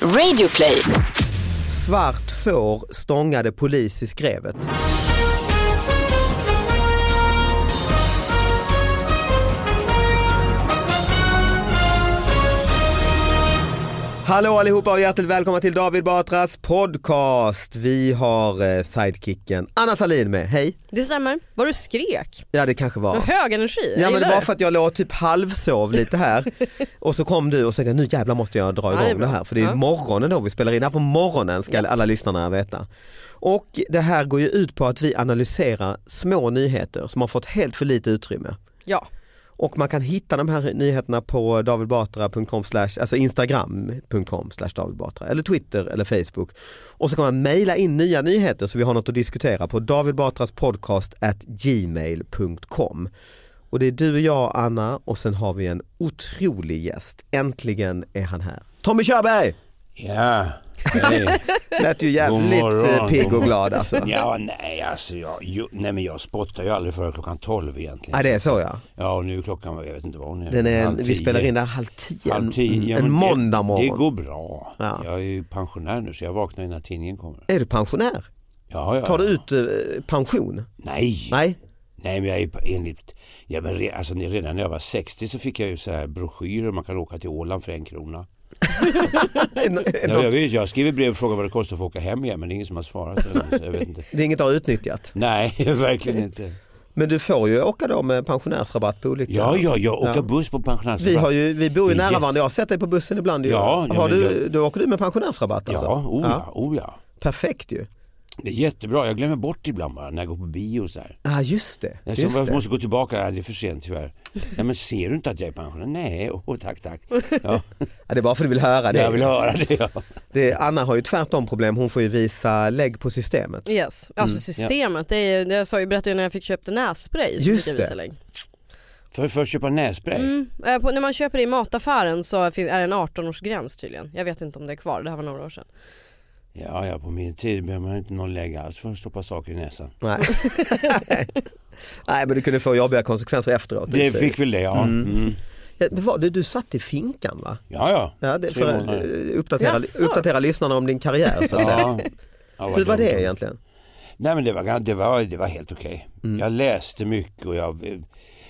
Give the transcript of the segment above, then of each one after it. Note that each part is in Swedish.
Radioplay. Svart får stångade polis i skrevet. Hallå allihopa och hjärtligt välkomna till David Batras podcast. Vi har eh, sidekicken Anna Salin med. Hej! Det stämmer. Vad du skrek. Ja det kanske var. Så hög energi. Ja Jag men det gillar var för att jag låg och typ halvsov lite här och så kom du och sa nu jävlar måste jag dra Ja, det är igång det bra. här för det är Ja. morgonen då vi spelar in, det här på morgonen ska alla lyssnarna veta. Och det här går ju ut på att vi analyserar små nyheter som har fått helt för lite utrymme. Ja. Och man kan hitta de här nyheterna på davidbatra.com slash, alltså instagram.com slash davidbatra eller Twitter eller Facebook. Och så kan man mejla in nya nyheter så vi har något att diskutera på davidbatraspodcast at gmail.com. Och det är du och jag Anna och sen har vi en otrolig gäst. Äntligen är han här. Tommy Körberg! Ja, nej. Lät ju God jävligt morgon. eh, pigg och glad alltså. ja, nej alltså jag, ju, nej men jag spottar ju aldrig före klockan 12 egentligen. Ja det är så ja. Ja och nu är klockan, jag vet inte vad hon är. Den är, Halv vi tio. spelar in där halv tio, Halv tio. Ja, Mm, en, en men måndag Det, morgon. det går bra. Ja. Jag är ju pensionär nu så jag vaknar innan tidningen kommer. Är du pensionär? Ja, ja. Tar du ut eh, pension? Nej. nej. Nej? men jag är ju enligt, ja, men re, alltså, det- redan när jag var 60 så fick jag ju så här broschyrer, man kan åka till Åland för en krona. En- en- Ja, jag, vet, jag skriver brev och frågar vad det kostar för att åka hem igen men det är ingen som har svarat. så jag vet inte. Det är inget du har utnyttjat. Nej, verkligen inte. Men du får ju åka då med pensionärsrabatt på olika... Ja, ja, jag åker Ja. buss på pensionärsrabatt. Vi, har ju, vi bor ju Det är nära jätte- varandra, jag har sett dig på bussen ibland. ju. Ja, ja, har men du, jag- då åker du med pensionärsrabatt alltså? Ja, oh ja, oh ja. Perfekt ju. Det är jättebra. Jag glömmer bort ibland bara när jag går på bio och så här. Ja ah, just det. Jag Just så- jag det. måste gå tillbaka, Nej, det är för sent tyvärr. Nej men ser du inte att jag är pensionär? Nej, åh tack tack. Ja, Ja, det är bara för att du vill höra det. jag vill höra det ja. det. Anna har ju tvärtom problem, hon får ju visa lägg på systemet. Yes. Mm, Alltså systemet, det, är, det jag sa ju, berättade ju när jag fick köpte nässpray. så Just fick jag visa det. länge. För, för att köpa nässpray? Mm. Eh, På, när man köper det i mataffären så fin- är det en 18-årsgräns tydligen. Jag vet inte om det är kvar, det här var några år sedan. Ja, ja, på min tid behöver man inte någon lägga alls för att stoppa saker i näsan. Nej. Nej men det kunde få jobbiga konsekvenser efteråt. Det fick väl det ja. Mm. ja, men vad, du, du satt i finkan va? Ja, ja. Ja, det, Tre för att månader. eh, uppdatera, Jaså? uppdatera lyssnarna om din karriär så att säga. ja. Ja, vad Hur var dumt. det egentligen? Nej men det var, gan- det var, det var helt okej. Jag läste mycket och jag,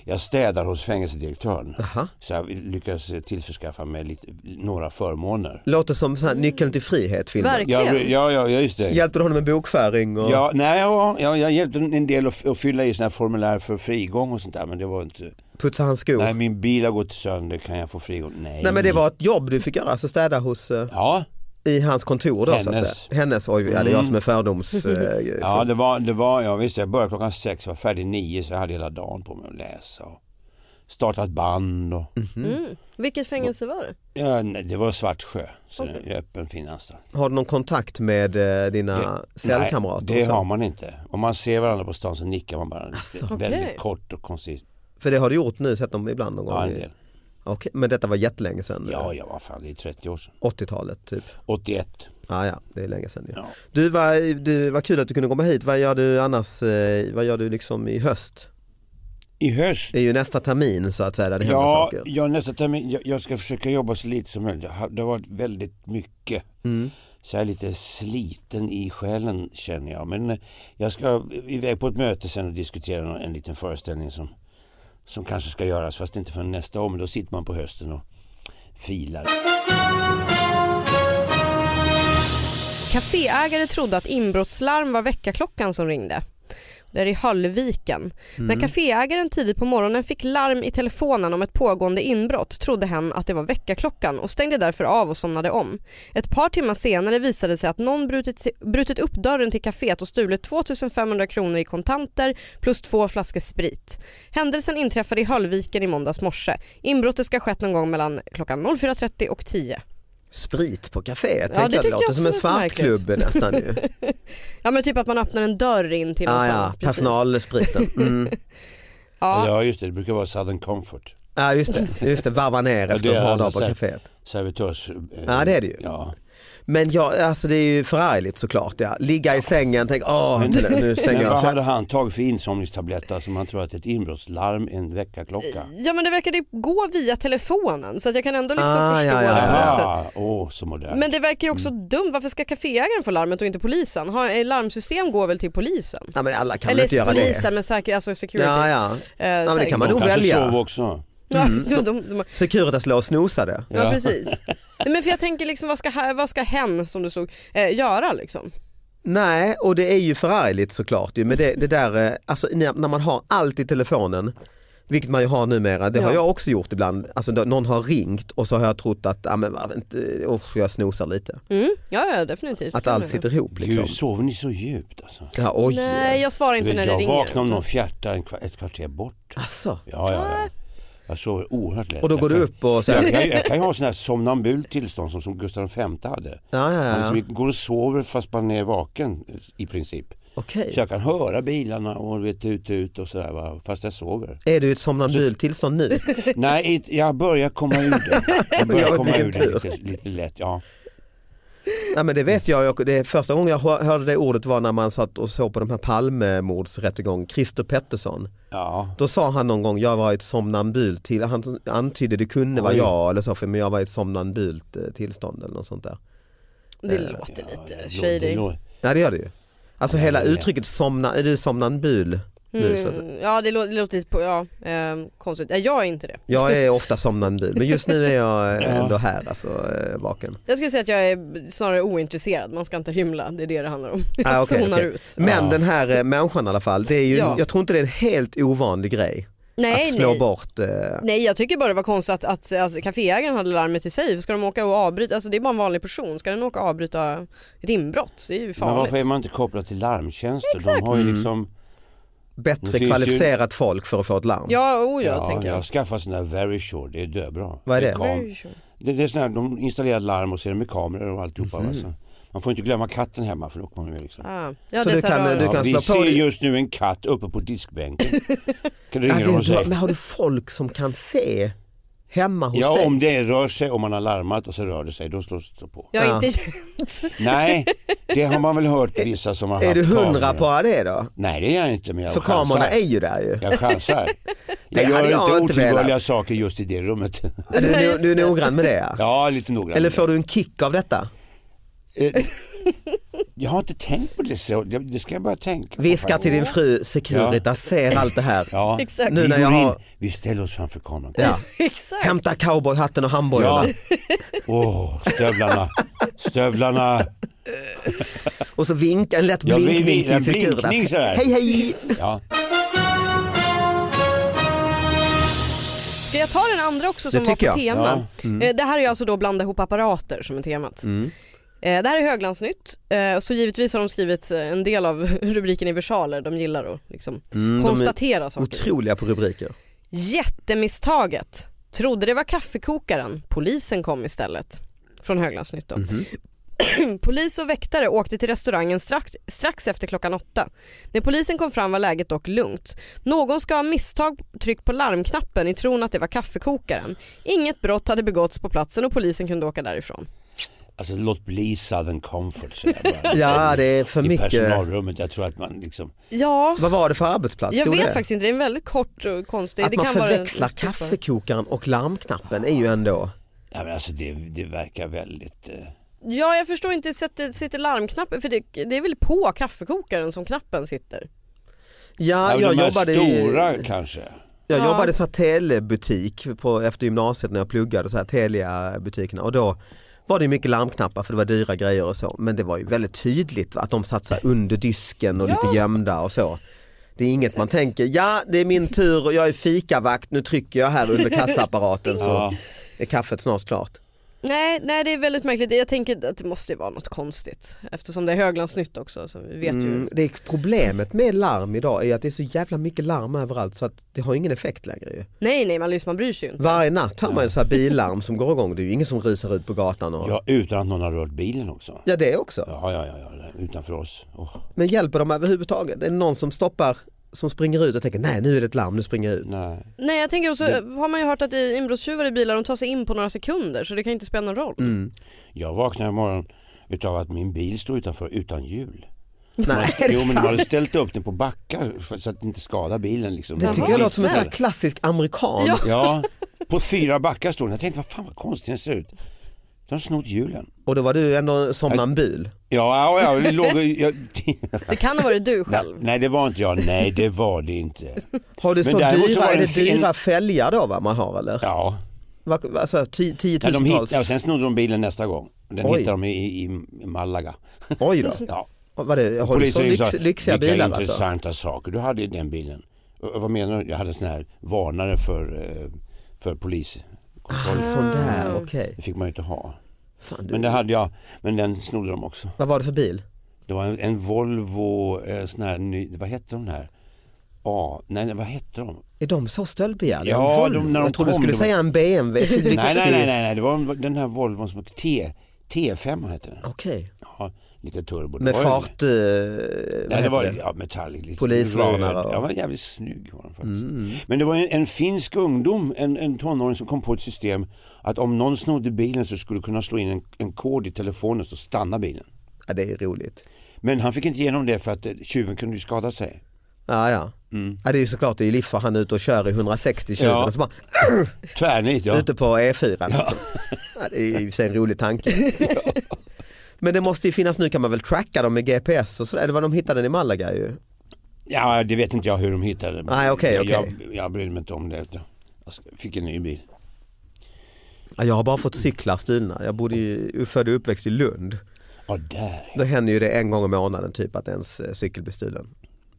jag städar hos fängelsedirektören. Aha. Så jag lyckades tillförskaffa mig lite, några förmåner. Låter som så här nyckeln till frihet filmen. Verkligen. Ja, ja, ja, ja just det. Hjälpte du honom med bokföring? Och... Ja, nej, ja, ja, jag hjälpte en del att, f- att fylla i sina formulär för frigång och sånt där men det var inte... Putsa hans skor? Nej Nej. min bil har gått sönder, kan jag få frigång? Nej. men det var ett jobb du fick göra, alltså städa hos, eh, Ja, i hans kontor då så att Hennes. Mm. säga. Hennes, oj ja, det är jag som är fördoms... eh, ja det var, det var, ja visst jag började klockan sex, var färdig nio så jag hade hela dagen på mig att läsa och starta ett band och... Mm. Vilket fängelse var det? Ja, nej, det var Svartsjö, så det är öppen fin anstalt. Har du någon kontakt med eh, dina cellkamrater? Nej, och det så? har man inte. Om man ser varandra på stan så nickar man bara lite, väldigt Okej. kort och koncist. För det har du gjort nu, sett dem ibland någon gång? Ja, en i- del. Okej, Men detta var jättelänge sedan, Ja, ja, vad fan, det är 30 år sedan. 80-talet typ? 81. Ja, ja, det är länge sedan ju. Ja. Du, vad du, vad kul att du kunde komma hit. Vad gör du annars, eh, vad gör du liksom i höst? I höst Det är ju nästa termin så att säga där det händer Ja, saker. jag, nästa termin, jag, jag ska försöka jobba så lite som möjligt. Jag har- Det har varit väldigt mycket. Mm. Så jag är lite sliten i själen känner jag. Men eh, jag ska iväg på ett möte sen och diskutera en, en liten föreställning som, som kanske ska göras. Fast inte förrän nästa år. Men då sitter man på hösten och filar. Caféägare trodde att inbrottslarm var väckarklockan som ringde. Det är i Höllviken. När caféägaren tidigt på morgonen fick larm i telefonen om ett pågående inbrott trodde hen att det var väckarklockan och stängde därför av och somnade om. Ett par timmar senare visade det sig att någon brutit, sig- brutit upp dörren till kaféet och stulit 2500 kronor i kontanter plus två flaskor sprit. Händelsen inträffade i Höllviken i måndags morse. Inbrottet ska ha skett någon gång mellan klockan 04.30 och 10. Sprit på caféet, tänker det jag. det tycker låter jag som en också låter svartklubb nästan ju. Ja men typ att man öppnar en dörr in till någon ja, sån. Ah, ja, Precis. personalspriten. Mm. Ja. Ja just det, det brukar vara Southern Comfort. Ja, just det, just det, varva ner Ja, efter det en är hård dag alldeles på säkert. kaféet. Servitörs... eh, Ja, det är det ju. Ja. Men ja, alltså det är ju förargligt såklart. Ja. Ligga i sängen, tänk åh, Men- nu stänger Men jag. vad Så hade här, han tagit för insomningstabletter som han tror att ett inbrottslarm är en väckarklocka? Ja men det verkade gå via telefonen så att jag kan ändå liksom Ah, förstå ja, ja, Mm. det. på något sätt. Aha, åh så modernt. Men det verkar ju också dumt, varför ska kaféägaren få larmet och inte polisen? Har, larmsystem går väl till polisen? Nej men alla kan väl inte Eller göra det. polisen men säker, alltså security. Ja, ja. Mm. Eh, men det säker- kan man De nog kanske välja. sov också. Ja, de, de, de, Securitas låg och snosade. ja. Ja. precis. Nej, men för jag tänker liksom vad ska, ha- vad ska hen som du stod eh, göra liksom? Nej, och det är ju förargligt såklart. ju, Men det, det där, eh, alltså, när när man har allt i telefonen, vilket man ju har numera, det har Ja. jag också gjort ibland. Alltså, då- någon har ringt och så har jag trott att ah, men, va, inte, usch, jag snosar lite. Mm, ja, ja definitivt. Att Kan allt jag. sitter ihop. Liksom. Gud, sover ni så djupt alltså? Ja, oj. Nej jag svarar Jag, inte när det jag ringer. vaknar om någon fjärtar en kva- ett kvarter bort. Alltså. Ja, ja, Äh. ja. Jag sover oerhört lätt. Och då går du Jag upp och kan- Jag, säger, kan- jag kan ju ha sån här somnambult tillstånd som, som Gustav V hade. ja, Han ja, ja. liksom går och sover fast man är vaken i princip. okej. Så jag kan höra bilarna och vet, ut, ut och sådär va, fast jag sover. Är du i ett somnambult tillstånd nu? Nej, inte- jag börjar komma ur det. Jag Ja, börjar komma vilken ur det tur. lite, lite lätt. Ja. Nej, men det vet jag, jag det första gången jag hör- hörde det ordet var när man satt och såg på de här Palmemordsrättegång, Christer Pettersson. Ja. Då sa han någon gång, jag var i ett somnambult till, han antydde det kunde vara Oj. jag eller så, för men jag var i ett somnambult eh, tillstånd eller något sånt där. Det låter lite det lå- det shady. lå- Nej det gör det ju. Alltså Ja, hela det är- uttrycket somna, är du somnambul nu? Så att, Mm, ja det lå- det låter lite på, ja, eh, konstigt. Nej, jag är inte det. jag är ofta somnambul, men just nu är jag eh, Ja. ändå här alltså, eh, vaken. Jag skulle säga att jag är snarare ointresserad, man ska inte hymla, det är det det handlar om. Jag Ah, okej, zonar okej. ut. Men Ja. den här eh, människan i alla fall, det är ju, Ja. jag tror inte det är en helt ovanlig grej Nej, att slå nej. bort eh, nej jag tycker bara det var konstigt att, att alltså, kaféägaren hade larmet i sig, ska de åka och avbryta? Alltså, det är bara en vanlig person, ska den åka och avbryta ett inbrott? Det är ju Men varför är farligt. man inte kopplad till larmtjänster? De har ju Mm. liksom... Det bättre finns ju- kvalificerat folk för att få ett larm. Ja, oh, ja, Ja, tänker jag jag. har skaffat sån där Very Sure, det är döbra. Vad är det? kam- Det, det är sån här, de installerar larm och ser med kameror och alltihopa. Mhm. Mm. Alltså. Man får inte glömma katten hemma för då kommer vi liksom. Ah, ja, Så det du kan- kan, du du Ja, kan- vi slå på ser dig. just nu en katt uppe på diskbänken. kan du Ja, ringa det dem och är bra. säga? Men har du folk som kan se hemma hos Ja, dig? om det rör sig, om man har larmat och så rör det sig, då slås det på. Jag Ja. är inte känt. Nej, det har man väl hört vissa som har Är haft du hundra kameror. på det då? Nej, det är jag inte, men jag För chansar. kamerorna är ju där ju. Jag chansar. Det Jag hade gör jag inte inte velat. otillbörliga saker just i det rummet. Är Du, Nej, du, just du är det. noggrann med det ja. Ja, lite noggrann. Eller får du en kick av detta? Eh, Jag har inte tänkt på det så. Det det ska jag börja tänka på Viska faktiskt. till din fru, Securita ser allt det här. Ja, Exakt. Nu vi, när går jag in, har- vi ställer oss framför kameran. Ja. Exakt. Hämta cowboyhatten och hamburgarna. Åh, stövlarna. Stövlarna. Och så vinka, en lätt Ja, vi- vi- blinkning en till Securitas. blinkning sådär. Hej hej! Ja. Ska jag ta den andra också Det som var på tycker jag. Mm. tema? Eh, Det här är ju alltså då blanda ihop apparater som är temat. Eh, Det här är Höglandsnytt, eh, så givetvis har de skrivit eh, en del av rubriken i versaler. De gillar att liksom Mm, de är konstatera saker. Otroliga på rubriker. Jättemisstaget. Trodde det var kaffekokaren. Polisen kom istället. Från Höglandsnytt då. Mhm. Polis och väktare åkte till restaurangen strax, strax efter klockan åtta. När polisen kom fram var läget dock lugnt. Någon ska ha misstag tryckt på larmknappen i tron att det var kaffekokaren. Inget brott hade begåtts på platsen och polisen kunde åka därifrån. Alltså låt bli Southern Comfort. Så jag bara, liksom Ja det är för I mycket. personalrummet. Jag tror att man liksom... Ja, Vad var det för arbetsplats? jag Stod vet det? faktiskt inte. Det är en väldigt kort och konstig. Att det man kan vara en- förväxlar kaffekokaren och larmknappen är ju ändå... Ja, men alltså det, det verkar väldigt... Eh, Ja, jag förstår inte sättet sitter larmknappen för det, det är väl på kaffekokaren som knappen sitter. Ja, ja, jag de här jobbade i- stora kanske. Jag Ja. jobbade i så här telebutik på, efter gymnasiet när jag pluggade, så här Telia-butikerna och då var det mycket larmknappar för det var dyra grejer och så men det var ju väldigt tydligt va, att de satt så här under disken och lite gömda och så. Det är inget man tänker, ja det är min tur och jag är fikavakt, nu trycker jag här under kassaapparaten så Ja. är kaffet snart klart. Nej, nej det är väldigt märkligt. Jag tänker att det måste ju vara något konstigt eftersom det är Höglandsnytt också så vi vet ju. Mm, det är problemet med larm idag är att det är så jävla mycket larm överallt så att det har ingen effekt längre ju. Nej nej man, lyssnar, man bryr sig ju inte. Varje natt hör man ju så här billarm som går igång, det är ju ingen som rusar ut på gatan och... Ja, utan att någon har rört bilen också. Ja det också. Ja, ja, ja, ja utanför oss. Åh, Men hjälper de överhuvudtaget? Är det någon som stoppar, som springer ut och tänker nej nu är det ett larm, nu springer jag ut. nej. Nej jag tänker också, har man ju hört att i- Mm. inbrottstjuvar i bilar de tar sig in på några sekunder så det kan ju inte spela någon roll. Jag vaknade imorgon utav att min bil stod utanför utan hjul. Nej, är Jo det men de sant? hade ställt upp den på backar för- så att den inte skadade bilen. Liksom. Det De tycker var jag låter som en sån här hissade. klassisk amerikan. Ja. Ja, på fyra backar stod den. Jag tänkte vad fan vad konstigt den ser ut. De har snott hjulen. Och då var du ändå somnambul. Ja, ja, ja det låg... Jag, Det kan ha varit du nej, själv. nej det var inte jag. Nej det var det inte. Har du Men så däremot så dyra, var är det det en fin- dyra fälgar då va, man har eller? Ja. Va, alltså ti- Ja, de tiotusentals? hittade, och sen snodde de bilen nästa gång. Den Oj. hittade de i, i, i Malaga. Oj då. Ja. Vad det, har du så Polisen lyx, sa, lyxiga vilka bilar alltså? intressanta saker du hade i den bilen. Och, och vad menar du? Jag hade en sån här varnare för, eh, för poliskontroll. alltså? Sån Ah. där, okej. Det fick man ju inte ha. Fan, Men du, det hade jag. Men den snodde de också. vad var det för bil? Det var en, en Volvo, eh, sån här ny, vad hette de här? A, nej nej, vad hette de? Är de så stöldbegärliga? Ja, En Volvo? de- när de jag trodde du kom, skulle det var- säga en BMW. Nej Lyxig. nej nej, nej, nej. det var en- den här Volvon som T, T5 hette den. Okej, Ja, lite turbo. Det med var ju- fart... Eh, Nej, vad det heter var det? ja, metallic. Lite Polisvarnare röd. och- Ja, var jävligt snygg var den faktiskt. Men det var en, en finsk ungdom, en, en tonåring som kom på ett system att om någon snodde bilen så skulle du kunna slå in en, en kod i telefonen så stanna bilen. Ja, det är roligt. Men han fick inte igenom det för att eh, tjuven kunde ju skada sig. Ja, ja. ja, det är ju såklart, det är ju livsfar han är ute och kör i 160 tjuven Ja. och så bara Tvärnit ja. ute på E4. Liksom. Ja, det är ju i och för sig en rolig tanke. Men det måste ju finnas, nu kan man väl tracka dem med GPS och sådär, eller vad de hittade den i Malaga ju. Ja, det vet inte jag hur de hittade det. men Nej, okej, jag, okej. jag, jag brydde mig inte om det. Jag ska- fick en ny bil. Ja, jag har bara fått cyklar stulna, jag bodde ju, född och uppväxt i Lund. Ja, där. Då händer ju det en gång i månaden typ att ens eh, cykel blir stulen.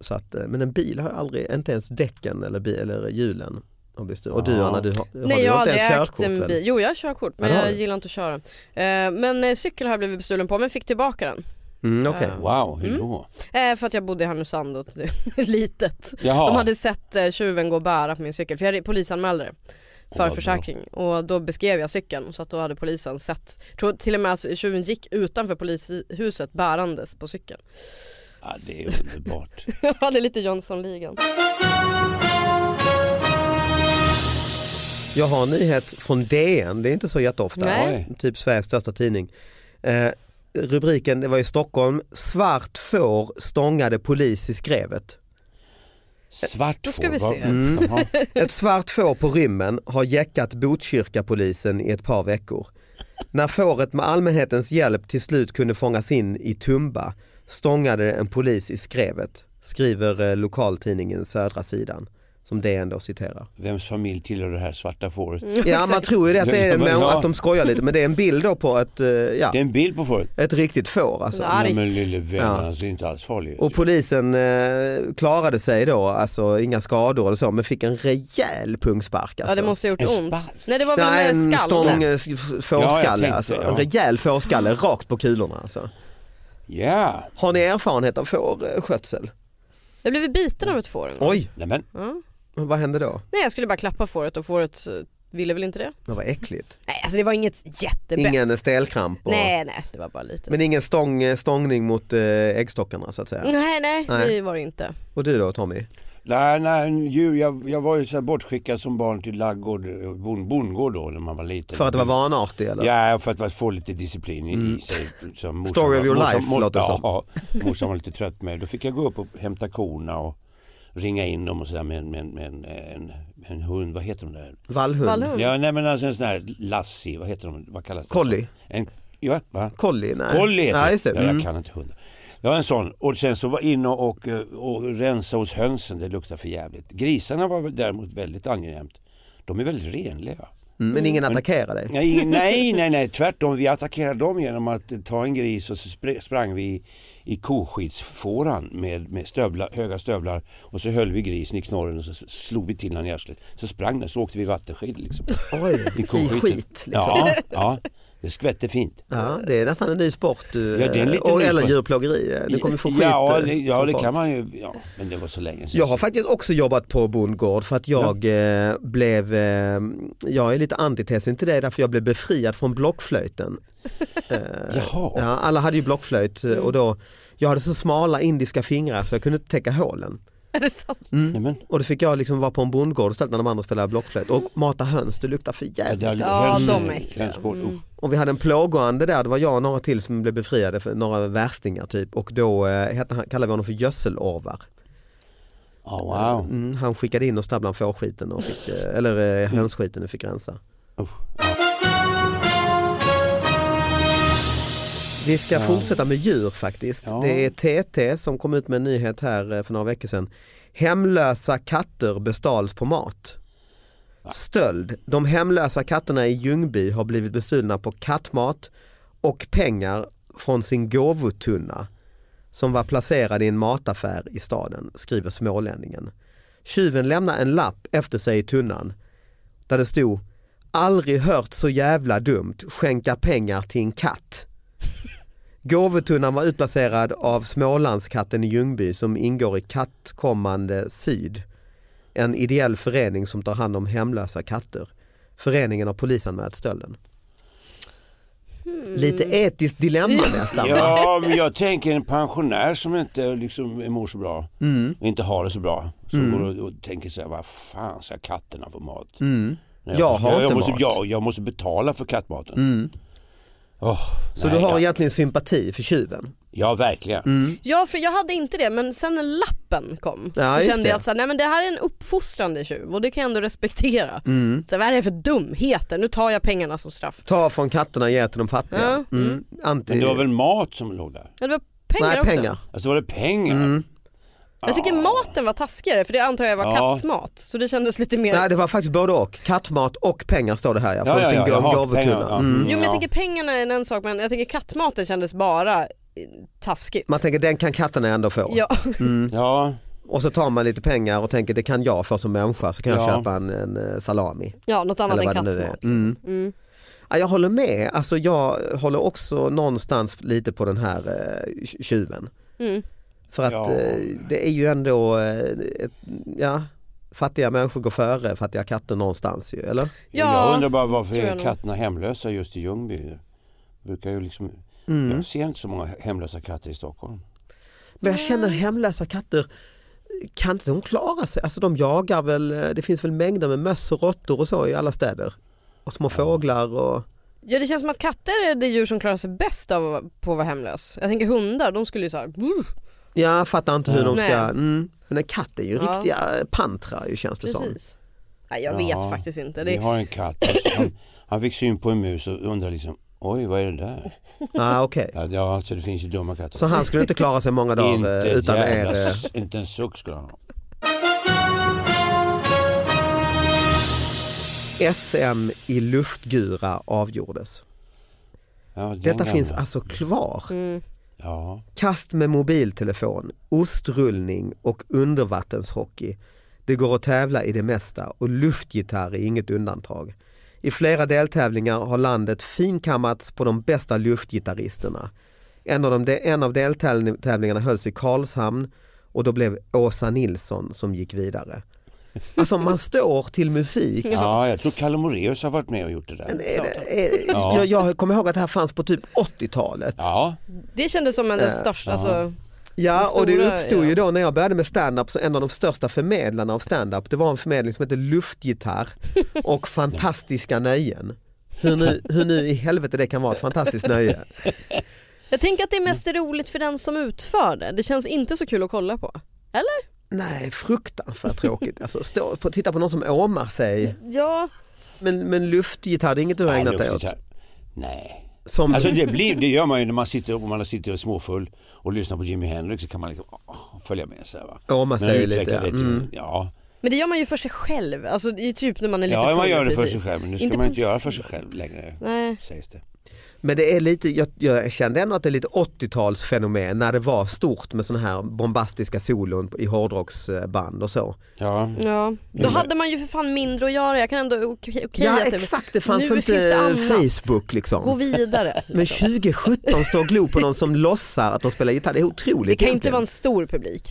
Så att, eh, men en bil har jag aldrig, inte ens däcken eller, bil, eller hjulen har blivit stulen. Och du Ja. Anna, du har, har Nej du jag har inte aldrig ens ägt körkort, en väl? bil. Jo jag har körkort men Ja, det har jag du. gillar inte att köra. Eh, Men eh, cykel har jag blivit bestulen på men fick tillbaka den. Mm, okej. Wow, hur då? Eh, För att jag bodde i Härnösand och det är litet. Jaha. De hade sett eh, tjuven gå och bära på min cykel för jag polisanmälde det Åh, vad för bra. försäkring och då beskrev jag cykeln så att då hade polisen sett, tror till och med att tjuven gick utanför polishuset bärandes på cykeln. Ja, det är underbart. Jag hade lite Jönssonligan. Jag har en nyhet från DN, det är inte så jätteofta. Nej. Oj. Typ Sveriges största tidning. Eh, rubriken, det var i Stockholm, svart får stångade polis i skrevet. Svart Då ska får, vi vad- se. Jaha. Ett svart får på rymmen har jäckat Botkyrkapolisen i ett par veckor. När fåret med allmänhetens hjälp till slut kunde fångas in i Tumba stångade det en polis i skrevet, skriver eh, lokaltidningen Södra sidan som DN då citerar. Vems familj tillhör det här svarta fåret? Ja man tror ju det att, det är, Ja, men ja. att de skojar lite men det är en bild då på ett, eh, ja, Det är en bild på fåret. ett riktigt får alltså. Ja. Argt. Nej, men lille vän, Ja. han ser inte alls farlig ut. Och polisen eh, klarade sig då, alltså inga skador eller så men fick en rejäl pungspark. Alltså. Ja det måste ha gjort En ont. spark? Nej det var väl Nej, en en skall. stång eh, Ja, jag fårskalle, tänkte, alltså. ja. en rejäl Ah. fårskalle rakt på kulorna. Alltså. Ja, Har ni erfarenhet av fårskötsel? Jag blev biten av ett får en gång. Oj, nej men Ja. vad hände då? Nej jag skulle bara klappa fåret och fåret eh, ville väl inte det. Det var äckligt. Nej alltså det var inget jättebett. Ingen stelkramp och, Nej nej det var bara lite. men ingen stång, stångning mot eh, äggstockarna så att säga. Nej, nej Nej. Mm. det var det inte. Och du då Tommy? Nej, nej, en djur. Jag, jag var ju så här bortskickad som barn till laggård, bon, bondgård då när man var liten. För att det var vanartig eller? Ja, för att få lite disciplin i, i sig. Så morsan Story var- of your morsan, life, låter det som. ja, morsan var lite trött med Då fick jag gå upp och hämta korna och ringa in dem och sådär med, en- med, en- med en, en, en hund. Vad heter de där? Vallhund? Vallhund. Ja, nej men alltså en sån här lassie. Vad heter de? Vad kallas det? Collie? En, ja, va? Collie? Nej. Collie heter ja, just det. Ja, jag Mm. kan inte hundar. Jag har en sån och sen så var inne och, eh, och rensa hos hönsen, det luktar för jävligt. Grisarna var väl däremot väldigt angenämt. De är väldigt renliga. Mm, Men ingen attackerar dig? Nej, nej, nej, nej, tvärtom. Vi attackerade dem genom att eh, ta en gris och så spr- sprang vi i, i koskitsfåran med, med stövlar, höga stövlar och så höll vi grisen i knorren och så s- slog vi till honom i arslet. Så sprang den, så åkte vi vattenskid liksom. Oj, i koskiten. skit liksom. Ja. Ja, ja, det skvätte fint. det är nästan en ny sport du, Ja, det är en liten och, ny eller sport. djurplågeri. Du kommer få skit. Ja, eh, det, ja, från det folk. kan man ju. Ja, men det var så länge sedan. Jag har faktiskt också jobbat på bondgård för att jag eh, blev, eh, jag är lite antitesen till dig därför jag blev befriad från blockflöjten. Jaha. Ja, alla hade ju blockflöjt eh, och då, jag hade så smala indiska fingrar så jag kunde inte täcka hålen. Är det sant? mm. Nej, men, Och då fick jag liksom vara på en bondgård istället när de andra spelade blockflöjt och mata höns, det luktar för ja, det jävligt. har- Ja, höns- de är äckliga. hönsgård, Mm. usch. Och vi hade en plågoande där, det var jag och några till som blev befriade, för några värstingar typ och då eh, hette han- kallade vi honom för gödselorvar. Ja, wow. Mm, han skickade in oss där bland fårskiten och fick, eh, eller eh, hönsskiten och fick rensa. Usch. Vi ska Ja. fortsätta med djur faktiskt. Ja. Det är TT som kom ut med en nyhet här eh, för några veckor sedan. Hemlösa katter bestals på mat. Stöld. De hemlösa katterna i Ljungby har blivit bestulna på kattmat och pengar från sin gåvotunna som var placerad i en mataffär i staden, skriver smålänningen. Tjuven lämnade en lapp efter sig i tunnan där det stod “Aldrig hört så jävla dumt, skänka pengar till en katt”. Gåvotunnan var utplacerad av Smålandskatten i Ljungby som ingår i Kattkommande Syd, en ideell förening som tar hand om hemlösa katter. Föreningen har polisanmält stölden. Lite etiskt dilemma nästan. va? Hmm. Ja, men jag tänker en pensionär som inte liksom mår så bra Mm. och inte har det så bra. Som går och, och tänker så här, vad fan ska katterna få mat? Nej, Mm. Jag har jag, inte måste, mat. Mm. Jag, jag måste betala för kattmaten. Åh, Så nej, du har Mm. ja, egentligen sympati för tjuven? ja, verkligen. Ja, för jag hade inte det men sen när lappen kom Ja, så just kände det. jag att så här, nej, men det här är en uppfostrande tjuv och det kan jag ändå respektera. Mm. Så här, vad är det för dumheter? Nu tar jag pengarna som straff. Ta från katterna och ge till de fattiga. Ja, Mm. Anti... Men det var väl mat som låg där? Ja, det var pengar Nej, också. pengar. Alltså var det pengar? Mm. Jag tycker maten var taskigare för det antar jag var Ja. kattmat så det kändes lite mer Nej det var faktiskt både och. Kattmat och pengar står det här ja. Från sin jag gå- har gåvotunna. pengar, ja. Mm. Jo men jag Ja. tänker pengarna är en sak men jag tänker kattmaten kändes bara eh, taskigt. Man tänker den kan katterna ändå få. ja. Ja, Och så tar man lite pengar och tänker det kan jag få som människa så kan jag Ja. köpa en, en eh, salami. ja, något annat än eller vad det nu är. kattmat. Mm. Mm. Ja, jag håller med, alltså, jag håller också någonstans lite på den här eh, tj- tjuven. Mm. För att Ja. eh, det är ju ändå, eh, ett, ja, fattiga människor går före fattiga katter någonstans ju eller? Jag Ja, undrar bara varför tror jag är nog. katterna hemlösa just i Ljungby? Det Brukar ju liksom... Mm. Jag ser inte så många hemlösa katter i Stockholm. Men jag känner hemlösa katter, kan inte de klara sig? Alltså de jagar väl, eh, det finns väl mängder med möss och råttor och så i alla städer. Och små fåglar och... ja, det känns som att katter är det djur som klarar sig bäst av att- på att vara hemlös. Jag tänker hundar, de skulle ju såhär Ja, jag fattar inte hur de ska... Nej. Mm. Men en katt är ju Ja. riktiga pantrar ju känns det som. Precis. Nej, jag Ja, vet faktiskt inte. Vi Det, har en katt. Alltså, han, han fick syn på en mus och undrade liksom Oj, vad är det där? Ah, okay. Ja, Ja, så det finns ju dumma katter. Så han skulle inte klara sig många dagar inte, eh, ett utan jävla er. eh, s- inte en suck skulle han ha. SM i luftgura avgjordes. Ja, den Detta gamla. finns alltså kvar. Mm. Ja. Kast med mobiltelefon, ostrullning och undervattenshockey. Det går att tävla i det mesta och luftgitarr är inget undantag. I flera deltävlingar har landet finkammats på de bästa luftgitarristerna. En av, de, en av deltävlingarna hölls i Karlshamn och då blev Åsa Nilsson som gick vidare. Alltså man står till musik. ja, jag tror Kalle Moraeus har varit med och gjort det där. Är det- är- Ja. Eh, Jag, jag kommer ihåg att det här fanns på typ 80-talet. Ja, det kändes som en Eh, största, alltså, Ja Det och det stora, uppstod ju ja. då när jag började med stand-up så en av de största förmedlarna av stand-up det var en förmedling som hette Luftgitarr och Fantastiska nöjen. Hur nu, hur nu i helvete det kan vara ett fantastiskt nöje. jag tänker att det är Mm. mest roligt för den som utför det. Det känns inte så kul att kolla på. Eller? Nej fruktansvärt tråkigt. Alltså, stå, på, titta på någon som åmar sig. Ja, Men, men luftgitarr det är inget du har Nej, ägnat dig åt. luftgitarr. Nej. Som, Alltså det, blir, det gör man ju när man sitter, om man sitter småfull och lyssnar på Jimi Hendrix så kan man liksom åh, följa med så här, va. Ja, man Men säger utveckla lite, ja. det till- Mm. ja. men det gör man ju för sig själv. Alltså, det är ju typ när man är lite ja, man full, gör det för sig precis. själv. Men nu ska Inte man på inte en göra s- för sig själv längre. Nej. Sägs det. men det är lite, jag, jag kände ändå att det är lite 80-talsfenomen när det var stort med sådana här bombastiska solon i hårdrocksband och så. Ja. Ja, då hade man ju för fan mindre att göra. Jag kan ändå okej okej ja att exakt, det fanns nu inte finns det annat. Facebook liksom. Gå vidare. Men 2017 står och glor på någon som låtsar att de spelar gitarr, det är otroligt. Det kan ju inte egentligen. vara en stor publik.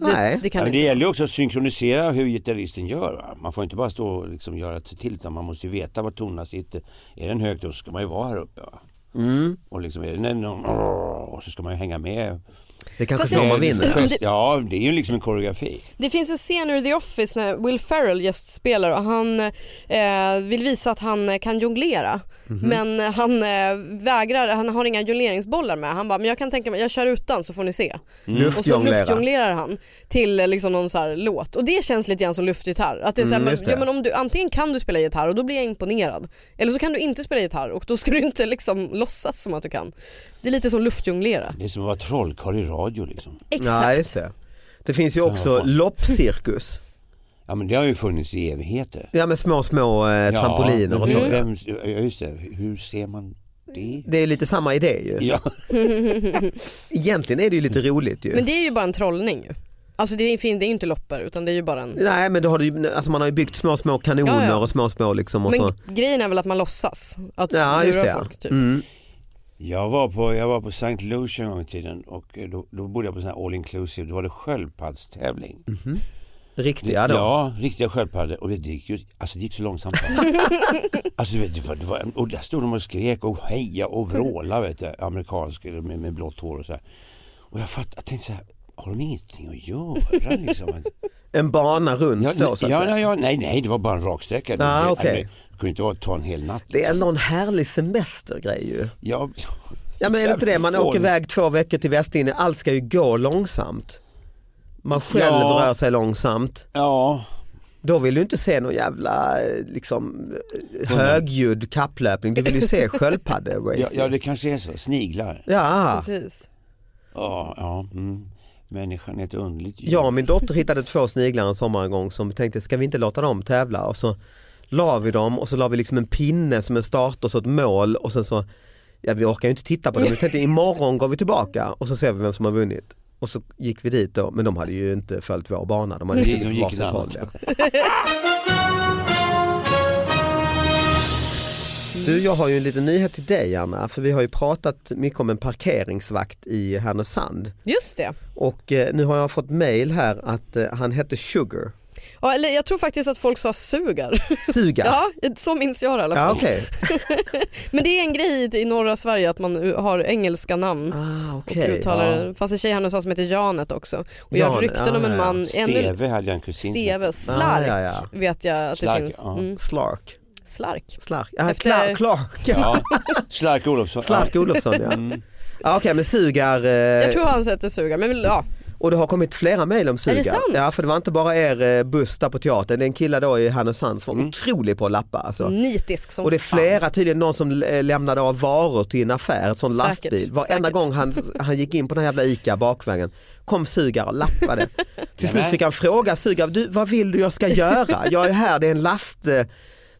Nej. Det, det kan det Ja, men det inte. gäller ju också att synkronisera hur gitarristen gör. Va? Man får inte bara stå och liksom göra sig till utan man måste ju veta var tonerna sitter. Är den högt då Mm. ska man ju vara här uppe. Va? Och liksom är den en, och så ska man ju hänga med. Det är kanske Fast så jag- man vinner. Gest- Ja, det är ju liksom en koreografi. Det finns en scen ur The Office när Will Ferrell gästspelar och han eh, vill visa att han eh, kan jonglera Mhm. men han eh, vägrar, han har inga jongleringsbollar med. Han bara, men jag kan tänka mig, jag kör utan så får ni se. Och så Mm. Luftjonglera. luftjonglerar han till eh, liksom någon så här låt och det känns lite grann som luftgitarr. Att det är så här, Mm, men, just det. ja, men om du, antingen kan du spela gitarr och då blir jag imponerad eller så kan du inte spela gitarr och då ska du inte liksom låtsas som att du kan. Det är lite som luftjonglera. Det är som att vara trollkarl i radio liksom. Ja, just det. det finns ju också Ja, fan. loppcirkus. Ja men det har ju funnits i evigheter. Ja med små små eh, Ja, trampoliner och men Mm. så. Vem, ja just det, hur ser man det? Det är lite samma idé ju. Ja, Egentligen är det ju lite roligt ju. Mm. Men det är ju bara en trollning ju. Alltså det är, fin- det är ju inte loppor utan det är ju bara en... Nej men då har du, ju- alltså man har ju byggt små små kanoner Ja, ja. och små små liksom och så. Men grejen är väl att man låtsas att Ja lura just det. folk typ. Mm. jag var på, jag var på St. Lucia en gång i tiden och eh, då, då bodde jag på sån här all inclusive, då var det sköldpaddstävling. Riktiga Mm. då. Ja, riktiga sköldpaddor. Och det gick ju, alltså det gick så långsamt. alltså du vet, det var, det var, och där stod de och skrek och heja och vråla vet du, amerikanska med, med blått hår och så här. Och jag fattade, jag tänkte så här, har de ingenting att göra liksom? Att- En bana runt Ja, då så att ja, säga. ja, ja, nej, nej, det var bara en raksträcka. Det- Ah, det, okej. det, det kunde inte vara ta en hel natt. Det är någon härlig semestergrej ju. Ja, Ja men är det inte det, man Jävligt åker fånigt. iväg två veckor till Västindien, allt ska ju gå långsamt. Man själv Ja. rör sig långsamt. Ja, Då vill du inte se någon jävla eh, liksom, eh, högljudd kapplöpning, du vill ju se sköldpadderacing. ja, ja, det kanske är så. Sniglar. Ja, Precis. Ja, ja. Mm. Människan är ett underligt djur. jag och min dotter hittade två sniglar en sommar en gång som vi tänkte, ska vi inte låta dem tävla? Och så la vi dem och så la vi liksom en pinne som en starter, så ett mål och sen så, ja vi orkar ju inte titta på dem, vi tänkte imorgon går vi tillbaka och så ser vi vem som har vunnit. Och så gick vi dit då, men de hade ju inte följt vår bana, de hade De ju gått gick varsitt ett håll. annat. ja. Du, jag har ju en liten nyhet till dig Anna, för vi har ju pratat mycket om en parkeringsvakt i Härnösand. Just det. Och eh, nu har jag fått mail här att eh, han hette Sugar. Ja, eller jag tror faktiskt att folk sa sugar. Sugar. Ja, så minns jag det i alla Ja, fall. okej. Men det är en grej i norra Sverige att man har engelska namn. Ah, Och okej. uttalar, det fanns en tjej här någonstans som heter Janet också. Och jag Janet, har rykten om ah, ja. en man, ännu, Steve hade jag en kusin. som Steve, hette. Slark Ah, ja, ja. vet jag att Slark, det finns. ja. Mm. Slark. Slark. Slark. Ja, Efter- Clark. Clark. Ja. Slark Olofsson. Slark Olofsson ja. ja okej men Sugar. eh, Jag tror han heter sugar men vill- ja. Och det har kommit flera mejl om Sugar. det sant? Ja för det var inte bara er eh, buss där på teatern, det är en kille då i Härnösand som var otrolig på att lappa alltså. nitisk som Och det är fan. flera, tydligen någon som eh, lämnade av varor till en affär, en sån Säkert, lastbil. Varenda säkert. gång han, han gick in på den här jävla ICA bakvägen kom Sugar och lappade. Till slut Nämen. fick han fråga Sugar, du, vad vill du jag ska göra? Jag är här, det är en last. eh,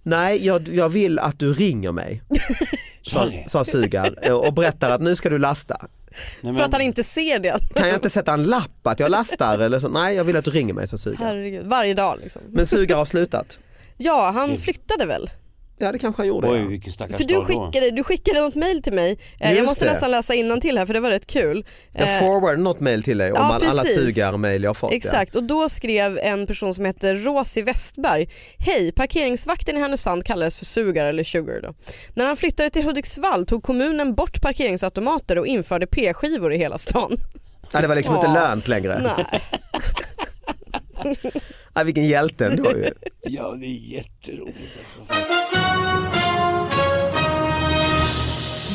Nej, jag, jag vill att du ringer mig, Sa ni? sa Sugar eh, och berättar att nu ska du lasta. Nej, För att han men, inte ser det. Kan jag inte sätta en lapp att jag lastar? Eller så? Nej, jag vill att du ringer mig, sa Sugar. Herregud, varje dag liksom. Men Sugar har slutat. Ja, Mm. han flyttade väl? Ja, det kanske han gjorde. Oj, ja. vilken stackars För du dag då. skickade, du skickade något mail till mig. Eh, jag Just måste det. nästan läsa innan till här för det var rätt kul. Jag Eh, forwardade något mail till dig om Ja, all, alla precis. Sugar-mail jag har fått. ja. Exakt, och då skrev en person som heter Rosie Westberg. Hej, parkeringsvakten i Härnösand kallades för sugar eller sugar då. När han flyttade till Hudiksvall tog kommunen bort parkeringsautomater och införde p-skivor i hela stan. Ja, det var liksom Ja. inte lönt längre. Nej. Ja, vilken hjälte ändå ju. Ja, det är jätteroligt. Alltså.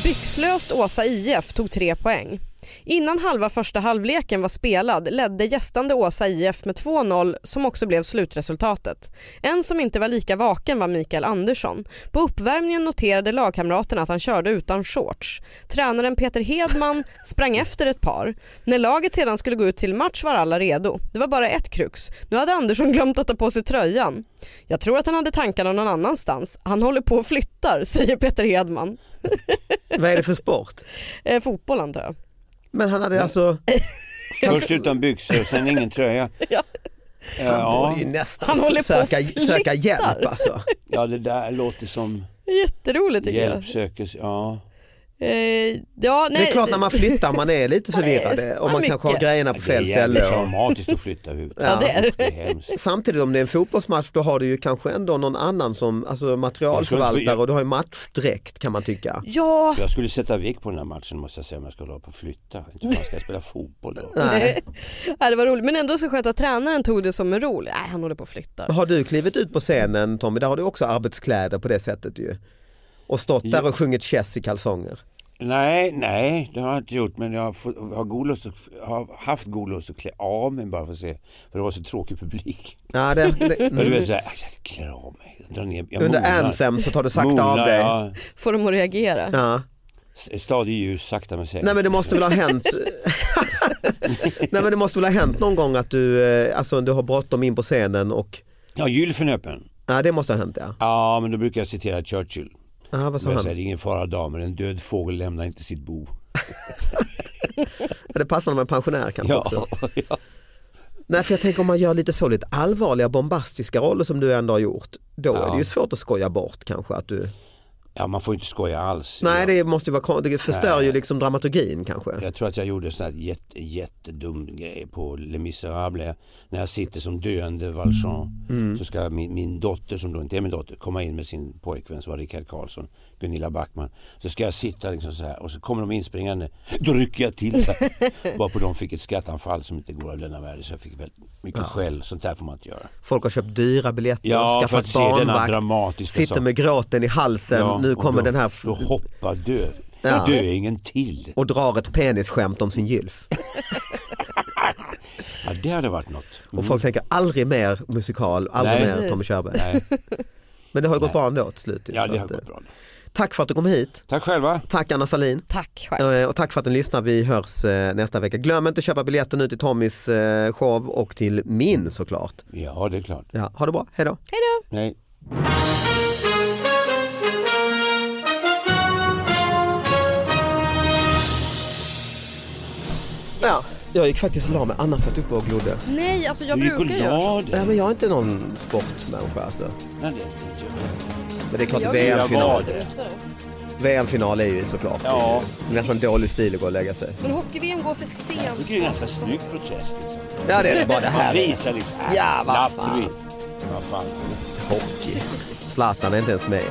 Byxlöst Åsa IF tog tre poäng. Innan halva första halvleken var spelad ledde gästande Åsa IF med 2-0 som också blev slutresultatet. En som inte var lika vaken var Mikael Andersson. På uppvärmningen noterade lagkamraterna att han körde utan shorts. Tränaren Peter Hedman sprang efter ett par. När laget sedan skulle gå ut till match var alla redo. Det var bara ett krux. Nu hade Andersson glömt att ta på sig tröjan. Jag tror att han hade tankarna någon annanstans. Han håller på och flyttar, säger Peter Hedman. Vad är det för sport? Eh, fotboll antar jag. Men han hade alltså, Först utan byxor, sen ingen tröja. Ja. Eh, han Ja, borde ju nästan Han håller på söka, och flyttar. söka hjälp alltså. ja, det där låter som Jätteroligt tycker hjälp sökes. Ja. jag. Eh, ja, nej, det är klart när man flyttar man är lite Man är- förvirrad och man mycket. kanske har grejerna på fel Det är jävligt ställe. Och... traumatiskt att flytta ut. Ja, det är det. Det är hemskt. Samtidigt om det är en fotbollsmatch då har du ju kanske ändå någon annan som alltså materialförvaltare och du har ju matchdräkt kan man tycka. Ja, Jag skulle sätta vikt på den här matchen måste jag säga om jag skulle hålla på att flytta. Inte fan ska jag spela fotboll då. ja, det var roligt. Men ändå så skönt att tränaren tog det som en rolig. Nej, han håller på och flyttar. Har du klivit ut på scenen Tommy, där har du också arbetskläder på det sättet ju. Och stått där och sjungit chess i kalsonger. Nej, nej, det har jag inte gjort. Men jag har, fått, har, god lust att, har haft god lust att klä av mig bara för att se. För det var så tråkig publik. Ja, det, det, Och Du mm. vet såhär, jag klär av mig. Drar ner, jag Under monar. Anthem så tar du sakta Monar, av dig. ja. Får dem att reagera. Ja. S- eh, Stadig ljus, sakta men säkert. Nej men det måste väl ha hänt Nej men det måste väl ha hänt någon gång att du, eh, alltså, du har bråttom in på scenen och Ja, Gylfenöppen. ja, det måste ha hänt ja. Ja, men då brukar jag citera Churchill. ja vad sa Jag han? säger, det är ingen fara damer, en död fågel lämnar inte sitt bo. Ja, Det passar med en pensionär kanske också. Ja, ja. Nej för jag tänker om man gör lite så lite allvarliga bombastiska roller som du ändå har gjort. Då är Ja. det ju svårt att skoja bort kanske att du... ja, man får inte skoja alls. Nej jag, det måste ju vara kon- det förstör ju liksom dramaturgin kanske. jag tror att jag gjorde en sån här jätte, jättedum grej på Les Misérables. När jag sitter som döende Valjean Mm. så ska min, min dotter, som då inte är min dotter, komma in med sin pojkvän som var Rickard Karlsson, Gunilla Backman. Så ska jag sitta liksom så här och så kommer de inspringande. Då rycker jag till så här. Varpå de fick ett skrattanfall som inte går av denna världen. Så jag fick väldigt mycket skäll. Sånt där får man inte göra. Folk har köpt dyra biljetter, Ja, för att skaffat se denna barnvakt, dramatiska sitter sak. med gråten i halsen, Ja, nu och kommer då, den här Då hoppar dö. Ja. Dö är ingen till. och drar ett penisskämt om sin gylf. Mm. Ja, det hade varit något. Och folk tänker aldrig mer musikal, aldrig Nej. mer Tommy Körberg. Nej. Men det har ju gått bra ändå till slut. ju, Ja, så det har att, eh, gått bra. Tack för att du kom hit. Tack själva. Tack Anna Salin. Tack själv. Eh, Och tack för att ni lyssnar. Vi hörs eh, nästa vecka. Glöm inte att köpa biljetter nu till Tommys eh, show och till min såklart. Ja, det är klart. Ja, ha det bra, hej då. Hej då! Nej. Ja, jag gick faktiskt och la mig, Anna satt uppe och glodde. Nej, alltså jag Du gick och brukar göra la Nej, dig. men jag är inte någon sportmänniska alltså. Nej, det är inte jag. Men det är klart, Jag VM-final var det. VM-final är ju såklart Ja. Det är nästan dålig stil att gå och lägga sig. Men hockey-VM går för Jag sent. tycker det är en ganska snygg protest. Liksom. Ja, det är det. Bara det Man här är visar liksom. äh, Ja, vad fan. lappri. Vad fan. hockey. Zlatan är inte ens med.